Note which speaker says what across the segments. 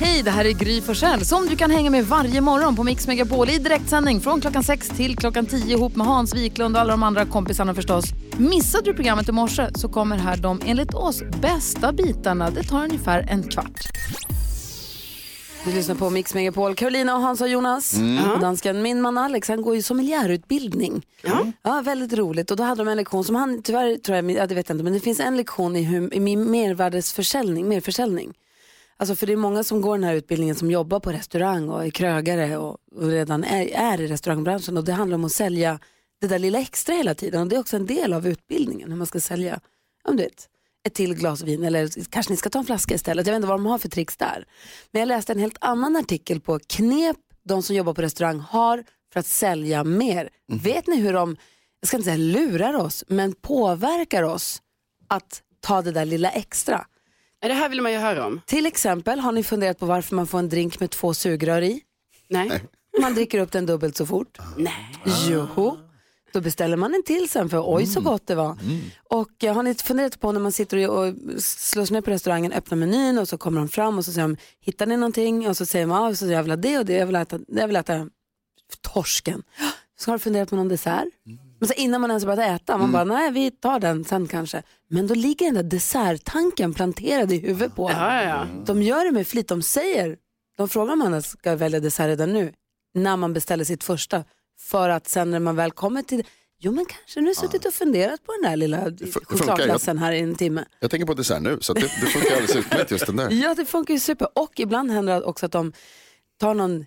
Speaker 1: Hej, det här är Gry Forssell som du kan hänga med varje morgon på Mix Megapol i direktsändning från klockan 6 till klockan 10 ihop med Hans Wiklund och alla de andra kompisarna förstås. Missade du programmet i morse så kommer här de enligt oss bästa bitarna. Det tar ungefär en kvart.
Speaker 2: Du lyssnar på Mix Megapol, Carolina och Hansa och Jonas. Och Mm. Dansken, min man Alex, han går ju sommelierutbildning. Ja. Mm. ja, väldigt roligt. Och då hade de en lektion som han, tyvärr tror jag, ja, det vet jag inte, men det finns en lektion i, hur, i min mervärdesförsäljning, merförsäljning. Alltså för det är många som går den här utbildningen som jobbar på restaurang och är krögare och, och redan är, är i restaurangbranschen och det handlar om att sälja det där lilla extra hela tiden och det är också en del av utbildningen hur man ska sälja, ja, men du vet, ett till glas vin eller kanske ni ska ta en flaska istället. Jag vet inte vad de har för tricks där. Men jag läste en helt annan artikel på knep de som jobbar på restaurang har för att sälja mer. Vet ni hur de, jag ska inte säga lurar oss, men påverkar oss att ta det där lilla extra?
Speaker 3: Ja, Det här vill man ju höra om.
Speaker 2: Till exempel, har ni funderat på varför man får en drink med två sugrör i?
Speaker 3: Nej. Nej.
Speaker 2: Man dricker upp den dubbelt så fort.
Speaker 3: Nej.
Speaker 2: Joho. Då beställer man en till sen för oj så
Speaker 3: Mm.
Speaker 2: gott det var. Och eh, har ni funderat på när man sitter och, och slår sig ner på restaurangen, öppnar menyn och så kommer de fram och så säger de, hittar ni någonting? Och så säger man, ah, så jag vill ha det och det, jag vill äta, jag vill äta torsken. Så har du funderat på någon dessert? Men så innan man ens har börjat äta, man
Speaker 3: Mm.
Speaker 2: bara, nej vi tar den sen kanske. Men då ligger den där desserttanken planterad i huvudet på en.
Speaker 3: Ja, ja, ja.
Speaker 2: De gör det med flit. De säger, de frågar om man ska välja dessert redan nu, när man beställer sitt första. För att sen när man väl kommer till, jo men kanske nu har jag suttit och funderat på den där lilla
Speaker 4: funkar, ja.
Speaker 2: chokladglassen här i en timme.
Speaker 4: Jag tänker på dessert nu, så att det, det funkar alldeles utmärkt just den där.
Speaker 2: Ja, det funkar ju super. Och ibland händer det också att de tar någon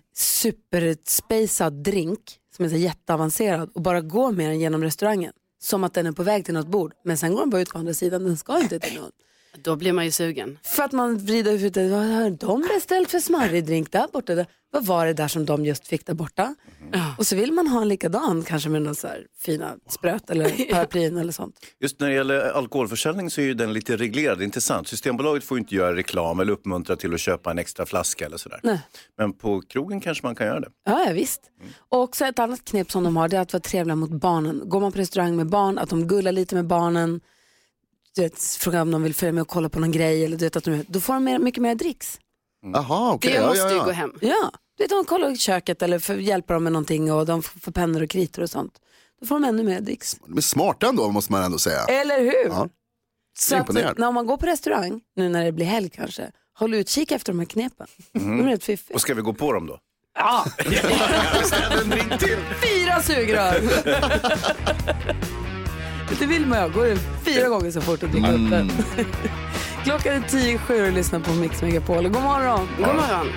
Speaker 2: superspacad drink som är så jätteavancerad och bara går med den genom restaurangen. Som att den är på väg till något bord. Men sen går den bara ut på andra sidan, den ska inte till någon.
Speaker 3: Då blir man ju sugen.
Speaker 2: För att man vrider ut det. Vad har de beställt för smarrig drink där borta? Där- Vad var det där som de just fick där borta? Och så vill man ha en likadan kanske med någon så här fina spröt eller paraplyen eller sånt.
Speaker 5: Just när det gäller alkoholförsäljning så är ju den lite reglerad, det är inte sant? Systembolaget får ju inte göra reklam eller uppmuntra till att köpa en extra flaska eller sådär.
Speaker 2: Nej.
Speaker 5: Men på krogen kanske man kan göra det.
Speaker 2: Ja, ja visst. Och så ett annat knep som de har det är att vara trevliga mot barnen. Går man på restaurang med barn, att de gullar lite med barnen. Du vet, frågar om de vill följa med och kolla på någon grej. Eller du vet, att de, då får de mer, mycket mer dricks.
Speaker 4: Jaha, okej.
Speaker 3: Mm. Det
Speaker 4: ja,
Speaker 3: måste
Speaker 4: ja,
Speaker 3: ju
Speaker 4: ja.
Speaker 3: gå hem.
Speaker 2: Ja, du vet, de kollar i köket eller för, hjälper dem med någonting och de får pennor och kritor och sånt. Då får de ännu mer dricks.
Speaker 4: Men smarta ändå måste man ändå säga.
Speaker 2: Eller hur?
Speaker 4: Ja.
Speaker 2: Så att,
Speaker 4: Imponerad.
Speaker 2: när man går på restaurang, nu när det blir helg kanske, håll utkik efter de här knepen. De är rätt fiffiga.
Speaker 5: Och ska vi gå på dem då?
Speaker 2: Ja,
Speaker 5: En drink till!
Speaker 2: fyra sugrör! det vill man ju. Går det fyra gånger så fort att dricka upp den. Klockan är tio i sju och lyssnar på Mix Megapol. God morgon!
Speaker 3: God morgon.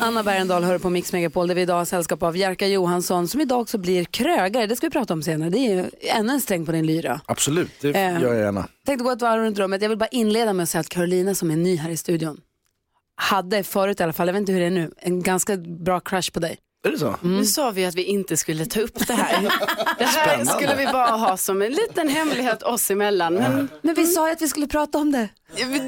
Speaker 2: Anna Bergendahl hör på Mix Megapol där vi idag har sällskap av Jerka Johansson som idag också blir krögare. Det ska vi prata om senare. Det är ju ännu en sträng på din lyra.
Speaker 6: Absolut, det
Speaker 2: Eh.
Speaker 6: gör jag gärna.
Speaker 2: tänkte gå ett varv runt rummet. Jag vill bara inleda med att säga att Carolina som är ny här i studion hade förut i alla fall, jag vet inte hur det är nu, en ganska bra crush på dig.
Speaker 6: Är det så?
Speaker 2: Mm.
Speaker 3: Nu sa vi att vi inte skulle ta upp det här. Det här skulle vi bara ha som en liten hemlighet oss emellan. Men
Speaker 2: Men vi sa ju att vi skulle prata om det.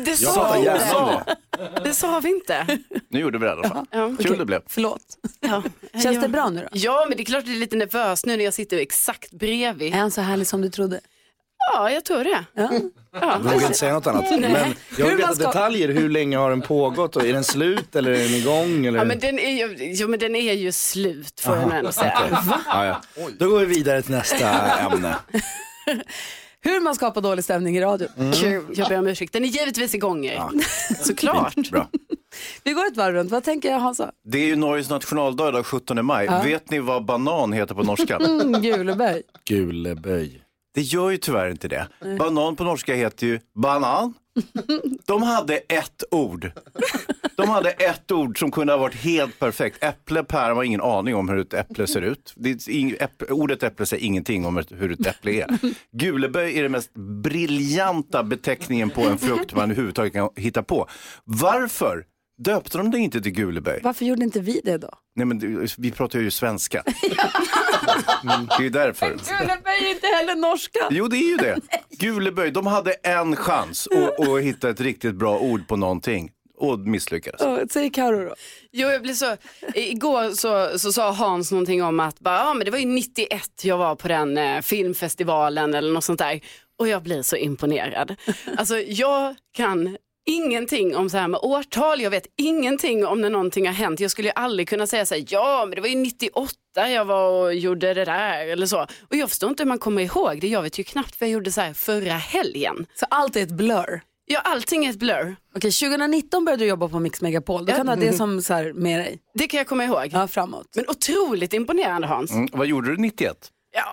Speaker 3: det sa,
Speaker 6: pratar
Speaker 3: vi
Speaker 6: gärna om
Speaker 3: inte.
Speaker 6: det.
Speaker 3: det sa vi inte.
Speaker 5: Nu gjorde vi det i alla fall.
Speaker 3: Ja.
Speaker 5: Kul det blev.
Speaker 2: Förlåt.
Speaker 3: Ja.
Speaker 2: Känns
Speaker 3: Ja.
Speaker 2: det bra nu då?
Speaker 3: Ja, men det är klart det är lite nervöst nu när jag sitter exakt bredvid.
Speaker 2: Är han så härlig som du trodde?
Speaker 3: Ja, jag tror det.
Speaker 2: Ja.
Speaker 3: Ja.
Speaker 6: Jag vågar inte säga något annat. Men jag
Speaker 2: Alltså, Hur
Speaker 6: vill veta
Speaker 2: man ska-
Speaker 6: detaljer. Hur länge har den pågått? Och är den slut eller är den igång? Eller?
Speaker 3: Ja, men den är ju, jo, men den är ju slut får jag nog ändå säga.
Speaker 6: Ja, ja. Då går vi vidare till nästa ämne.
Speaker 2: Hur man skapar dålig stämning i radio.
Speaker 6: Mm.
Speaker 3: Kul. Jag ber om ursäkt. Den är givetvis igång. Ja. Såklart.
Speaker 5: Bra.
Speaker 2: Vi går ett varv runt, vad tänker jag Hansa?
Speaker 5: Det är ju Norges nationaldag idag, 17 maj. Vet ni vad banan heter på norska?
Speaker 2: Mm, Guleberg.
Speaker 6: Guleböj.
Speaker 5: Det gör ju tyvärr inte det. Banan på norska heter ju banan. De hade ett ord. De hade ett ord som kunde ha varit helt perfekt. Äpple, päron har ingen aning om hur ett äpple ser ut. Det är ing, äpp, ordet äpple säger ingenting om ett- hur ett äpple är. Guleböj är den mest briljanta beteckningen på en frukt man överhuvudtaget kan hitta på. Varför döpte de det inte till guleböj?
Speaker 2: Varför gjorde inte vi det då?
Speaker 5: Nej men det- vi pratar ju svenska. Mm, Det är ju därför.
Speaker 2: Guleberg är inte heller norska.
Speaker 5: Jo, det är ju det. Guleböj, de hade en chans att, att hitta ett riktigt bra ord på någonting och misslyckades.
Speaker 2: Ja, Säg Carro då.
Speaker 3: Jo, jag blev så, igår så, så sa Hans någonting om att bara, ja, men det var ju 91 jag var på den eh, filmfestivalen eller något sånt där. Och jag blir så imponerad. Alltså jag kan ingenting om så här med årtal, jag vet ingenting om när någonting har hänt. Jag skulle ju aldrig kunna säga så här, ja men det var ju 98 jag var och gjorde det där eller så. Och jag förstår inte hur man kommer ihåg det, jag vet ju knappt vad jag gjorde så här förra helgen.
Speaker 2: Så allt är ett blur?
Speaker 3: Ja, allting är ett blur.
Speaker 2: Okej, 2019 började du jobba på Mix Megapol. Då kan du ha det som så här med dig.
Speaker 3: Det kan jag komma ihåg.
Speaker 2: Ja, framåt.
Speaker 3: Men otroligt imponerande Hans.
Speaker 5: Mm, vad gjorde du 91?
Speaker 3: Ja,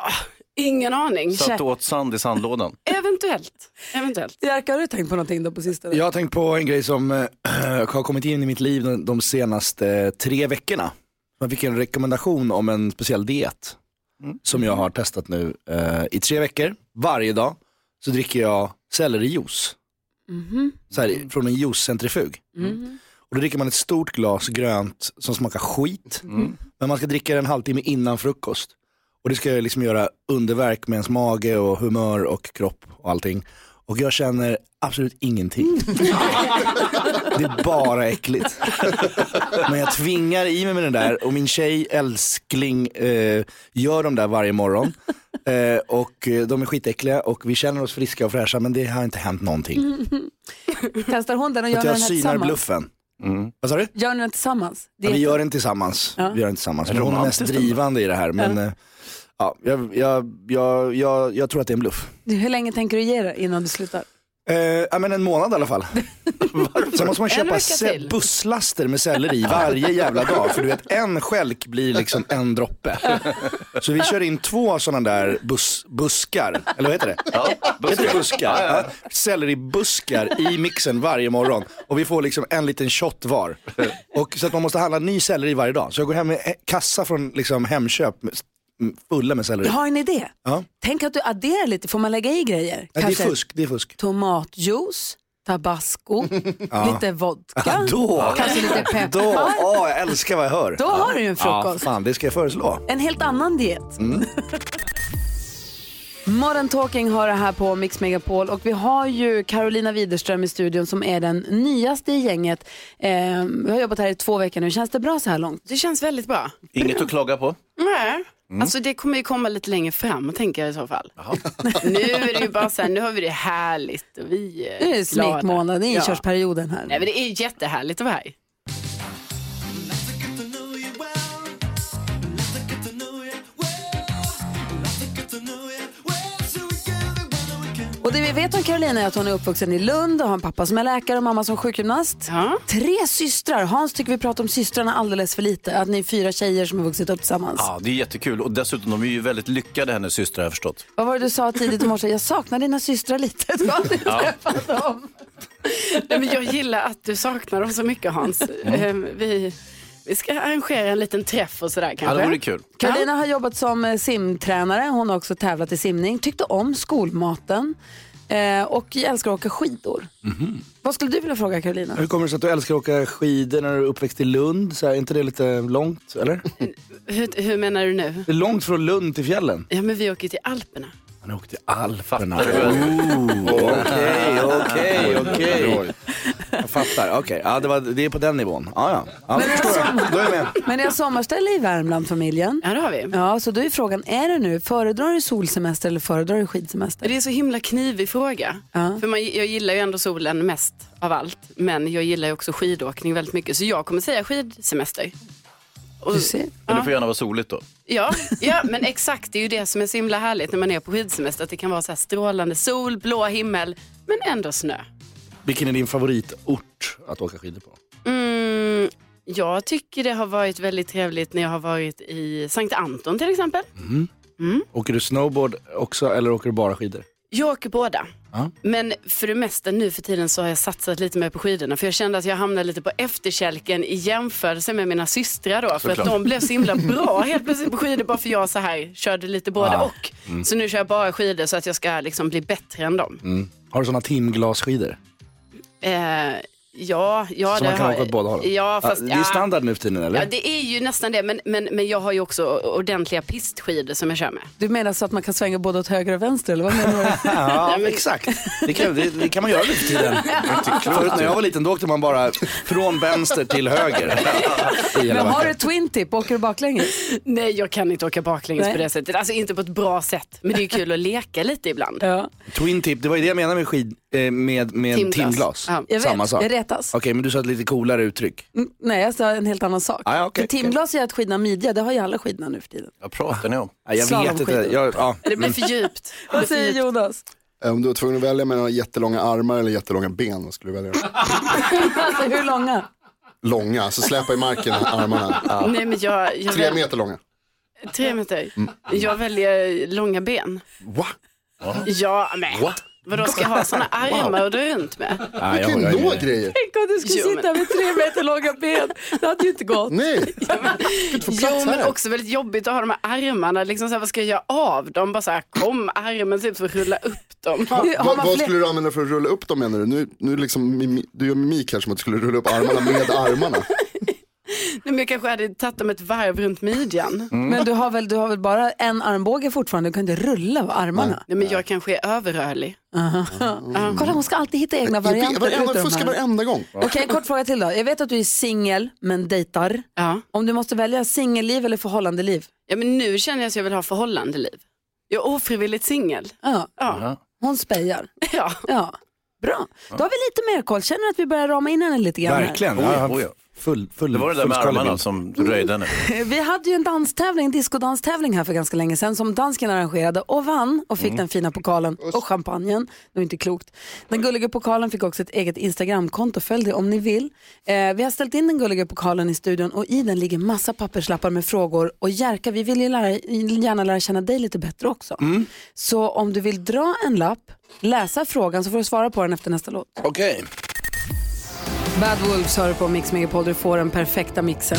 Speaker 3: ingen aning.
Speaker 5: Satt åt sand i sandlådan.
Speaker 3: Eventuellt. Eventuellt.
Speaker 2: Jerka, har du tänkt på någonting då på sistone?
Speaker 6: Jag har tänkt på en grej som eh, har kommit in i mitt liv de, de senaste eh, tre veckorna. Jag fick en rekommendation om en speciell diet som jag har testat nu eh, i tre veckor. Varje dag så dricker jag sellerijuice. Så här, från en juicecentrifug. Och då dricker man ett stort glas grönt som smakar skit. Men man ska dricka det en halvtimme innan frukost. Och det ska liksom göra underverk med ens mage och humör och kropp och allting. Och jag känner absolut ingenting. Det är bara äckligt. Men jag tvingar i mig med den där och min tjej, älskling, eh, gör de där varje morgon. Eh, och eh, de är skitäckliga och vi känner oss friska och fräscha men det har inte hänt någonting.
Speaker 2: Testar hon den och Mm, gör ni den
Speaker 6: Så att jag
Speaker 2: här
Speaker 6: synar
Speaker 2: tillsammans?
Speaker 6: bluffen. Vad sa du?
Speaker 2: Gör ni den tillsammans? Det
Speaker 6: Ja,
Speaker 2: är
Speaker 6: vi gör den tillsammans. Vi gör den tillsammans. Men hon är mest drivande i det här. Men, eh, ja, jag, jag, jag, jag, jag tror att det är en bluff.
Speaker 2: Hur länge tänker du ge det innan du slutar?
Speaker 6: Eh, ja, men en månad i alla fall. Sen måste man köpa
Speaker 3: vecka
Speaker 6: se-
Speaker 3: till.
Speaker 6: busslaster med selleri varje jävla dag. För du vet, en skälk blir liksom en droppe. Så vi kör in två sådana där bus- buskar, eller vad heter det?
Speaker 5: Ja,
Speaker 6: Heter det
Speaker 5: buskar.
Speaker 6: buskar? Ja, Selleribuskar i mixen varje morgon. Och vi får liksom en liten shot var. Och så att man måste handla ny selleri varje dag. Så jag går hem med eh, kassa från liksom Hemköp med- m- fulla med selleri.
Speaker 2: Jag har en idé.
Speaker 6: Ja.
Speaker 2: Tänk att du adderar lite, får man lägga i grejer?
Speaker 6: Nej, det är fusk, det är fusk.
Speaker 2: tomatjuice, tabasco, lite vodka.
Speaker 6: Ja, då,
Speaker 1: Kanske lite pepp.
Speaker 6: då, åh, jag älskar vad jag hör.
Speaker 2: Då har du ju en
Speaker 6: Ja,
Speaker 2: frukost.
Speaker 6: fan, det ska jag föreslå.
Speaker 2: En helt annan diet.
Speaker 6: Mm.
Speaker 2: Modern Talking har det här på Mix Megapol och vi har ju Carolina Widerström i studion som är den nyaste i gänget. Eh, vi har jobbat här i två veckor nu. Känns det bra så här långt?
Speaker 3: Det känns väldigt bra.
Speaker 5: Inget att klaga på.
Speaker 3: Nej.
Speaker 5: Mm.
Speaker 3: Alltså det kommer ju komma lite längre fram tänker jag i så fall. nu är det ju bara så här, nu har vi det härligt och vi är,
Speaker 2: Nu är det
Speaker 3: glada.
Speaker 2: smekmånaden, det är
Speaker 3: Ja. Eh,
Speaker 2: inkörsperioden här.
Speaker 3: Nej men det är ju jättehärligt att vara här.
Speaker 2: Och det vi vet om Carolina är att hon är uppvuxen i Lund och har en pappa som är läkare och mamma som sjukgymnast.
Speaker 3: Ja.
Speaker 2: Tre systrar. Hans tycker vi pratar om systrarna alldeles för lite. Att ni är fyra tjejer som har vuxit upp tillsammans.
Speaker 5: Ja, det är jättekul och dessutom de är ju väldigt lyckade hennes systrar har jag förstått.
Speaker 2: Vad var det du sa tidigt i morse? Jag saknar dina systrar lite. Du har aldrig träffat dem.
Speaker 3: Nej, men jag gillar att du saknar dem så mycket Hans.
Speaker 5: Mm.
Speaker 3: Eh, Vi, vi ska arrangera en liten träff och sådär
Speaker 5: Ja,
Speaker 3: kanske.
Speaker 5: det vore kul.
Speaker 2: Karolina har jobbat som eh, simtränare. Hon har också tävlat i simning. Tyckte om skolmaten. Eh, och älskar att åka skidor.
Speaker 3: Mhm.
Speaker 2: Vad skulle du vilja fråga Karolina?
Speaker 3: Mm.
Speaker 6: Hur kommer det sig att du älskar att åka skidor när du är uppväxt i Lund? Så här, är inte det lite långt, eller?
Speaker 3: hur, hur menar du nu?
Speaker 6: Det är långt från Lund till fjällen.
Speaker 3: Ja men vi åker till Alperna.
Speaker 6: Han åkte till Alperna. Oh, Okej, okej, okej. Jag fattar. Okej, ja, det, var- det är på den nivån. Ja, ja. ja men förstår
Speaker 3: alltså-
Speaker 6: jag. Då är jag med.
Speaker 2: Men jag har sommarställe i Värmland, familjen.
Speaker 3: Ja det har vi.
Speaker 2: Ja, så då är frågan, är det nu, föredrar du solsemester eller föredrar du skidsemester?
Speaker 3: Det är så himla knivig fråga.
Speaker 2: Ja.
Speaker 3: För man, jag gillar ju ändå solen mest av allt. Men jag gillar ju också skidåkning väldigt mycket. Så jag kommer säga skidsemester. Och,
Speaker 2: Du ser.
Speaker 5: Men det får gärna vara soligt då.
Speaker 3: ja, ja, men exakt. Det är ju det som är så himla härligt när man är på skidsemester. Att det kan vara så här strålande sol, blå himmel, men ändå snö.
Speaker 6: Vilken är din favoritort att åka skidor på?
Speaker 3: Mm, jag tycker det har varit väldigt trevligt när jag har varit i Sankt Anton till exempel.
Speaker 6: Åker du snowboard också eller åker du bara skidor?
Speaker 3: Jag åker båda.
Speaker 6: Ja.
Speaker 3: Men för det mesta nu för tiden så har jag satsat lite mer på skidorna. För jag kände att jag hamnade lite på efterkälken i jämförelse med mina systrar då. För
Speaker 5: Såklart.
Speaker 3: att de blev så himla bra helt plötsligt på skidor bara för jag så här körde lite både
Speaker 6: Ah,
Speaker 3: och. Så nu kör jag bara skidor
Speaker 6: Mm.
Speaker 3: så att jag ska liksom bli bättre än dem.
Speaker 6: Har du sådana timglasskidor?
Speaker 3: Eh, Ja, ja
Speaker 6: Så
Speaker 3: det
Speaker 6: man kan
Speaker 3: har...
Speaker 6: åka åt båda hållen.
Speaker 3: Ja, fast,
Speaker 6: det är
Speaker 3: ja.
Speaker 6: standard nu för tiden eller?
Speaker 3: Ja, det är ju nästan det, men, men, men jag har ju också ordentliga pistskidor som jag kör med.
Speaker 2: Du menar så att man kan svänga både åt höger och vänster eller vad menar du?
Speaker 6: Ja, exakt. Det kan, det, det kan man göra nu för tiden. Förut när jag var liten då åkte man bara från vänster till höger. I hela
Speaker 2: Men har du
Speaker 6: världen.
Speaker 2: twin tip, åker du baklänges?
Speaker 3: Nej, jag kan inte åka baklänges
Speaker 2: Nej.
Speaker 3: på det sättet. Alltså inte på ett bra sätt, men det är ju kul att leka lite ibland.
Speaker 2: Ja.
Speaker 6: Twin tip, det var ju det jag menade med, skid, eh, med, med timglas.
Speaker 3: Timglas. Ja,
Speaker 2: Jag
Speaker 6: Samma
Speaker 2: vet,
Speaker 6: sak.
Speaker 2: jag retas.
Speaker 6: Okej, men du sa ett lite coolare uttryck.
Speaker 2: Mm, Nej, jag sa en helt annan sak.
Speaker 6: Ah, ja, okej,
Speaker 2: För timglas gör att skidorna midja, det har ju alla skidorna nu för tiden.
Speaker 5: Vad pratar ni om?
Speaker 6: Ja, jag vet inte.
Speaker 2: Slalomskidor.
Speaker 6: Jag, ja.
Speaker 3: Det blir för djupt. Det blir
Speaker 2: Vad
Speaker 3: för
Speaker 2: säger
Speaker 3: djupt.
Speaker 2: Jonas?
Speaker 3: Eh.
Speaker 4: Om du var tvungen att välja mellan jättelånga armar eller jättelånga ben, vad skulle du välja?
Speaker 2: Alltså hur långa?
Speaker 4: Långa, så släpa i marken armarna.
Speaker 3: Nej, men jag, jag
Speaker 4: Tre
Speaker 3: väl-
Speaker 4: meter långa.
Speaker 3: Tre meter. Jag väljer långa ben.
Speaker 4: Va?
Speaker 3: Ja, men. Vadå, ska jag ha sådana armar att dra runt med?
Speaker 6: Ja,
Speaker 4: Du
Speaker 6: jag,
Speaker 4: kan
Speaker 6: jag,
Speaker 4: ju nå
Speaker 6: jag,
Speaker 4: grejer.
Speaker 2: Tänk om du skulle
Speaker 3: Jo, men-
Speaker 2: sitta med tre meter långa ben. Det hade ju inte gått.
Speaker 4: Nej, du kan inte få plats
Speaker 3: Jo, men
Speaker 4: här.
Speaker 3: också väldigt jobbigt att ha de här armarna. Liksom så här, vad ska jag göra av dem? Bara så här, kom armen typ för att rulla upp dem.
Speaker 4: Vad,
Speaker 2: man
Speaker 4: vad
Speaker 2: fler-
Speaker 4: skulle du använda för att rulla upp dem menar du? Nu, nu liksom, mimi- du gör mimik här som att du skulle rulla upp armarna med armarna.
Speaker 3: Nej, men jag kanske hade tagit dem ett varv runt midjan.
Speaker 4: Mm.
Speaker 2: Men du har, väl, du har väl bara en armbåge fortfarande? Du kan inte rulla av armarna?
Speaker 3: Nej, men jag kanske är överrörlig.
Speaker 2: Ja. Kolla, hon ska alltid hitta egna varianter. utav de
Speaker 4: Varenda,
Speaker 2: här.
Speaker 4: fuskar varenda gång.
Speaker 2: Okej, en kort fråga till då. Jag vet att du är singel, men dejtar.
Speaker 3: Ja.
Speaker 2: Om du måste välja singelliv eller förhållandeliv?
Speaker 3: ja, men nu känner jag att jag vill ha förhållande liv. Jag är ofrivilligt singel.
Speaker 2: Ja,
Speaker 3: Ja.
Speaker 2: hon spejar.
Speaker 3: ja.
Speaker 2: Ja, bra. Då har vi lite mer koll. Känner du att vi börjar rama in henne lite grann? här?
Speaker 6: verkligen.
Speaker 5: Oj,
Speaker 6: Ja,
Speaker 5: oj, oj.
Speaker 6: Full, full,
Speaker 5: Det var det där med
Speaker 6: fullskalig
Speaker 5: armarna
Speaker 6: bild.
Speaker 5: som röjde nu.
Speaker 2: Vi hade ju en danstävling, en discodanstävling här för ganska länge sedan som dansken arrangerade och vann och fick den fina pokalen och champagnen. Det var inte klokt. Den gulliga pokalen fick också ett eget Instagramkonto, följ det om ni vill. Eh, vi har ställt in den gulliga pokalen i studion och i den ligger massa papperslappar med frågor och Jerka, vi vill ju lära, gärna lära känna dig lite bättre också. Så om du vill dra en lapp, läsa frågan så får du svara på den efter nästa låt.
Speaker 6: Okej.
Speaker 2: Bad Wolves hör du på Mix Megapol, du får den perfekta mixen.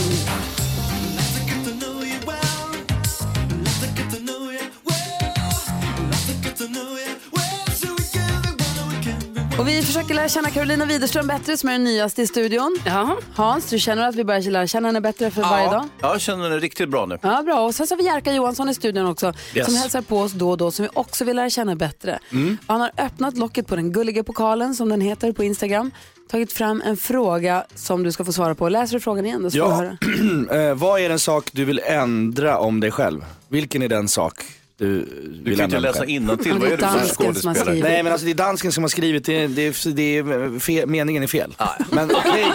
Speaker 2: Och vi försöker lära känna Carolina Widerström bättre som är den nyaste i studion.
Speaker 3: ja.
Speaker 2: Hans, du känner att vi börjar lära känna henne bättre för varje dag?
Speaker 5: Ja, jag känner mig riktigt bra nu.
Speaker 2: Ja, bra. Och sen så har vi Jerka Johansson i studion också
Speaker 5: Yes.
Speaker 2: som hälsar på oss då och då som vi också vill lära känna bättre.
Speaker 6: Mm.
Speaker 2: Han har öppnat locket på den gulliga pokalen som den heter på Instagram, tagit fram en fråga som du ska få svara på. Läser du frågan igen då så får du
Speaker 6: Ja.
Speaker 2: höra.
Speaker 6: Eh, vad är en sak du vill ändra om dig själv? Vilken är den sak du eh, vill
Speaker 5: Du kan
Speaker 6: ändra
Speaker 5: inte
Speaker 6: om dig
Speaker 5: läsa
Speaker 6: själv?
Speaker 5: innantill.
Speaker 2: Ja, det
Speaker 5: Vad
Speaker 2: är
Speaker 5: är du för
Speaker 2: dansken som har
Speaker 5: skådespelare?
Speaker 2: skrivit.
Speaker 6: Nej men alltså det är dansken som har skrivit, det, det, det är fel, meningen är fel. Men okej,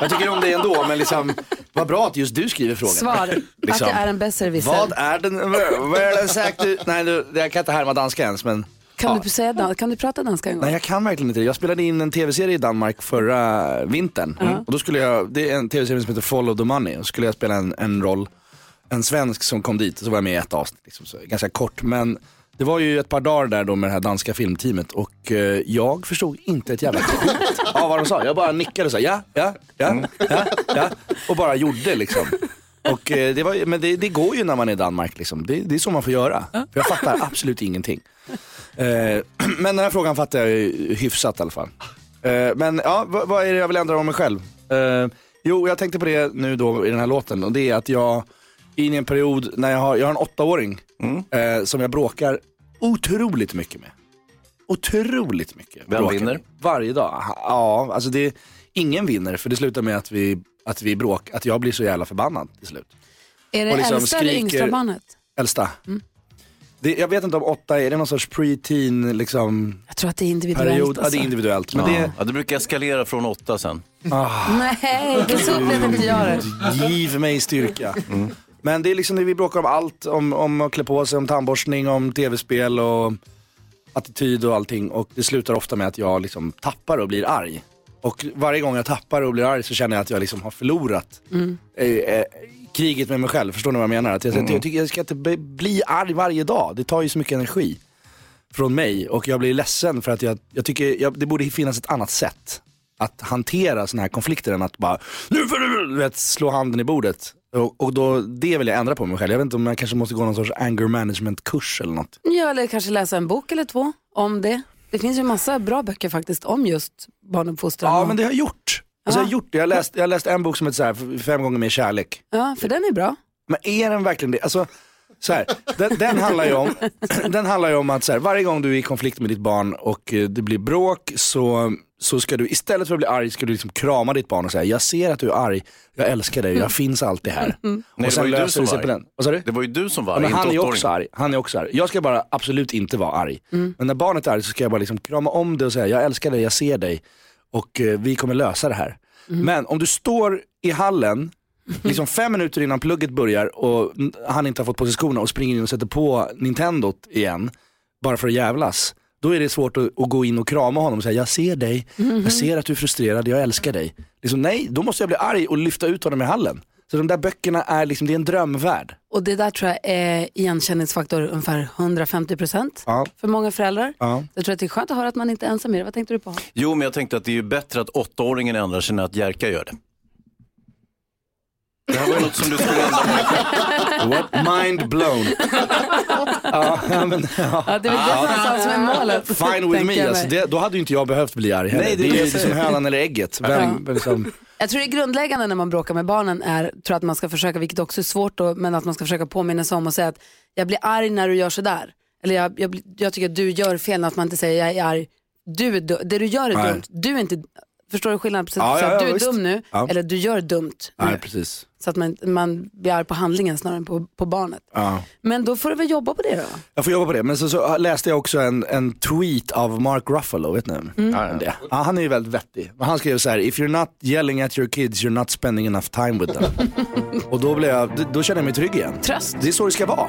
Speaker 6: jag tycker om det ändå men liksom, vad bra att just du skriver frågan.
Speaker 2: Svar, att
Speaker 6: Liksom.
Speaker 2: det är en besserwisser.
Speaker 6: Vad är den, vad är den sagt du? Nej du, jag kan inte härma danska ens men.
Speaker 2: Kan, du säga dan- kan du prata danska en gång?
Speaker 6: Nej jag kan verkligen inte det. Jag spelade in en tv-serie i Danmark förra vintern. Och då skulle jag, det är en tv-serie som heter Follow the Money. Och så skulle jag spela en, en roll, en svensk som kom dit. Och så var jag med i ett avsnitt, liksom, så, ganska kort. Men det var ju ett par dagar där då med det här danska filmteamet och eh, jag förstod inte ett jävla skit av vad de sa. Jag bara nickade och sa ja, ja, ja, ja, ja och bara gjorde liksom. Och, eh, det var, ju- men det, det går ju när man är i Danmark liksom. Det, det är så man får göra. För jag fattar absolut ingenting. Eh, men den här frågan fattar jag ju hyfsat i alla fall. Eh, men ja, vad, vad är det jag vill ändra om mig själv? Eh, jo, jag tänkte på det nu då i den här låten och det är att jag är inne i en period när jag har, jag har en åttaåring
Speaker 5: Mm.
Speaker 6: eh, som jag bråkar otroligt mycket med. Otroligt mycket.
Speaker 5: Vem
Speaker 6: bråkar
Speaker 5: vinner?
Speaker 6: med. Varje dag. Ja, alltså det, ingen vinner för det slutar med att vi, att vi bråk, att jag blir så jävla förbannad till slut.
Speaker 2: Är det
Speaker 6: och liksom
Speaker 2: äldsta eller
Speaker 6: skriker-
Speaker 2: yngsta barnet?
Speaker 6: Äldsta. Det, jag vet inte om åtta, är det någon sorts pre-teen liksom,
Speaker 2: Jag tror att det är individuellt.
Speaker 6: period? Ja,
Speaker 2: alltså.
Speaker 6: det är individuellt. Men det,
Speaker 5: Ja, det brukar eskalera från åtta sen.
Speaker 2: Ah. Nej, det är så
Speaker 6: Mm.
Speaker 2: upplevde inte jag det.
Speaker 6: Ah, Giv mig styrka. Men det är liksom det vi bråkar om allt. Om, om att klä på sig, om tandborstning, om tv-spel och attityd och allting. Och det slutar ofta med att jag liksom tappar och blir arg. Och varje gång jag tappar och blir arg så känner jag att jag liksom har förlorat eh, eh, kriget med mig själv. Förstår ni vad jag menar? Att jag, jag, tycker jag ska inte be- bli arg varje dag. Det tar ju så mycket energi från mig och jag blir ledsen för att jag, jag tycker jag, det borde finnas ett annat sätt att hantera sådana här konflikter än att bara nu får du du vet, slå handen i bordet. Och, och då, det vill jag ändra på mig själv. Jag vet inte om jag kanske måste gå någon sorts anger management kurs eller något.
Speaker 2: Ja, eller kanske läsa en bok eller två om det. Det finns ju massa bra böcker faktiskt om just barnuppfostran.
Speaker 6: Ja
Speaker 2: och-
Speaker 6: men det har jag gjort. Alltså, jag har gjort det, jag har läst, jag har läst en bok som heter så här, Fem gånger mer kärlek.
Speaker 2: Ja, för den är bra.
Speaker 6: Men är den verkligen det? Alltså, så här, den, den, handlar ju om, den handlar ju om att så här, varje gång du är i konflikt med ditt barn och eh, det blir bråk så, så ska du istället för att bli arg ska du liksom krama ditt barn och säga jag ser att du är arg, jag älskar dig, jag finns alltid här.
Speaker 5: Nej, det
Speaker 6: Och
Speaker 5: var
Speaker 6: sen
Speaker 5: ju du
Speaker 6: löser
Speaker 5: som
Speaker 6: det
Speaker 5: var
Speaker 6: sig på
Speaker 5: arg.
Speaker 6: den. Vad sa du?
Speaker 5: Det var ju du som var
Speaker 6: Ja,
Speaker 5: arg,
Speaker 6: men han
Speaker 5: inte
Speaker 6: är också
Speaker 5: åttaåringen.
Speaker 6: arg. Han är också arg. Jag ska bara absolut inte vara arg. Men när barnet är arg så ska jag bara liksom krama om det och säga jag älskar dig, jag ser dig och eh, vi kommer lösa det här. Men om du står i hallen liksom fem minuter innan plugget börjar och n- han inte har fått på sig skorna och springer in och sätter på Nintendot igen bara för att jävlas. Då är det svårt att, att gå in och krama honom och säga jag ser dig, jag ser att du är frustrerad, jag älskar dig. Liksom, nej, då måste jag bli arg och lyfta ut honom i hallen. Så de där böckerna är liksom, det är en drömvärld.
Speaker 2: Och det där tror jag är igenkänningsfaktor ungefär 150 procent
Speaker 6: Ja.
Speaker 2: för många föräldrar.
Speaker 6: Ja.
Speaker 2: Jag tror att det är skönt att höra att man inte är ensam i det. Vad tänkte du på?
Speaker 5: Jo, men jag tänkte att det är ju bättre att åttaåringen ändrar sig än att Jerka gör det. Det här var ju något som du skulle ändra på.
Speaker 6: What? Mind blown. ja, men, ja.
Speaker 2: Ja, det är väl det någonstans som är målet.
Speaker 6: Fine with
Speaker 2: tänker jag
Speaker 6: me,
Speaker 2: mig.
Speaker 6: alltså, det, då hade ju inte jag behövt bli arg heller.
Speaker 5: Nej, det
Speaker 6: det,
Speaker 5: är det
Speaker 6: är
Speaker 5: jag
Speaker 6: ju liksom
Speaker 5: säger.
Speaker 6: hönan eller ägget. Vem, liksom,
Speaker 2: Jag tror det grundläggande när man bråkar med barnen är tror jag, att man ska försöka, vilket också är svårt, då, men att man ska försöka påminna sig om och säga att jag blir arg när du gör sådär. Eller jag, jag, blir- jag tycker att du gör fel, att man inte säger jag är arg. Du, är du- det du gör är
Speaker 6: Nej.
Speaker 2: dumt. Du är inte, förstår du skillnaden? Precis,
Speaker 6: Ja,
Speaker 2: så
Speaker 6: ja,
Speaker 2: att du
Speaker 6: ja,
Speaker 2: är
Speaker 6: visst.
Speaker 2: dum nu,
Speaker 6: Ja.
Speaker 2: eller du gör dumt.
Speaker 6: nej, precis.
Speaker 2: Så att man, man blir arg på handlingen snarare än på, på barnet.
Speaker 6: Ja.
Speaker 2: Men då får du väl jobba på det då.
Speaker 6: Jag får jobba på det. Men så, så läste jag också en, en tweet av Mark Ruffalo, vet ni mm. ja, ja. ja, Han är ju väldigt vettig. Men han skrev så här, if you're not yelling at your kids you're not spending enough time with them. Och då, blev jag, då kände jag mig trygg igen.
Speaker 1: Tröst.
Speaker 6: Det är så det ska vara.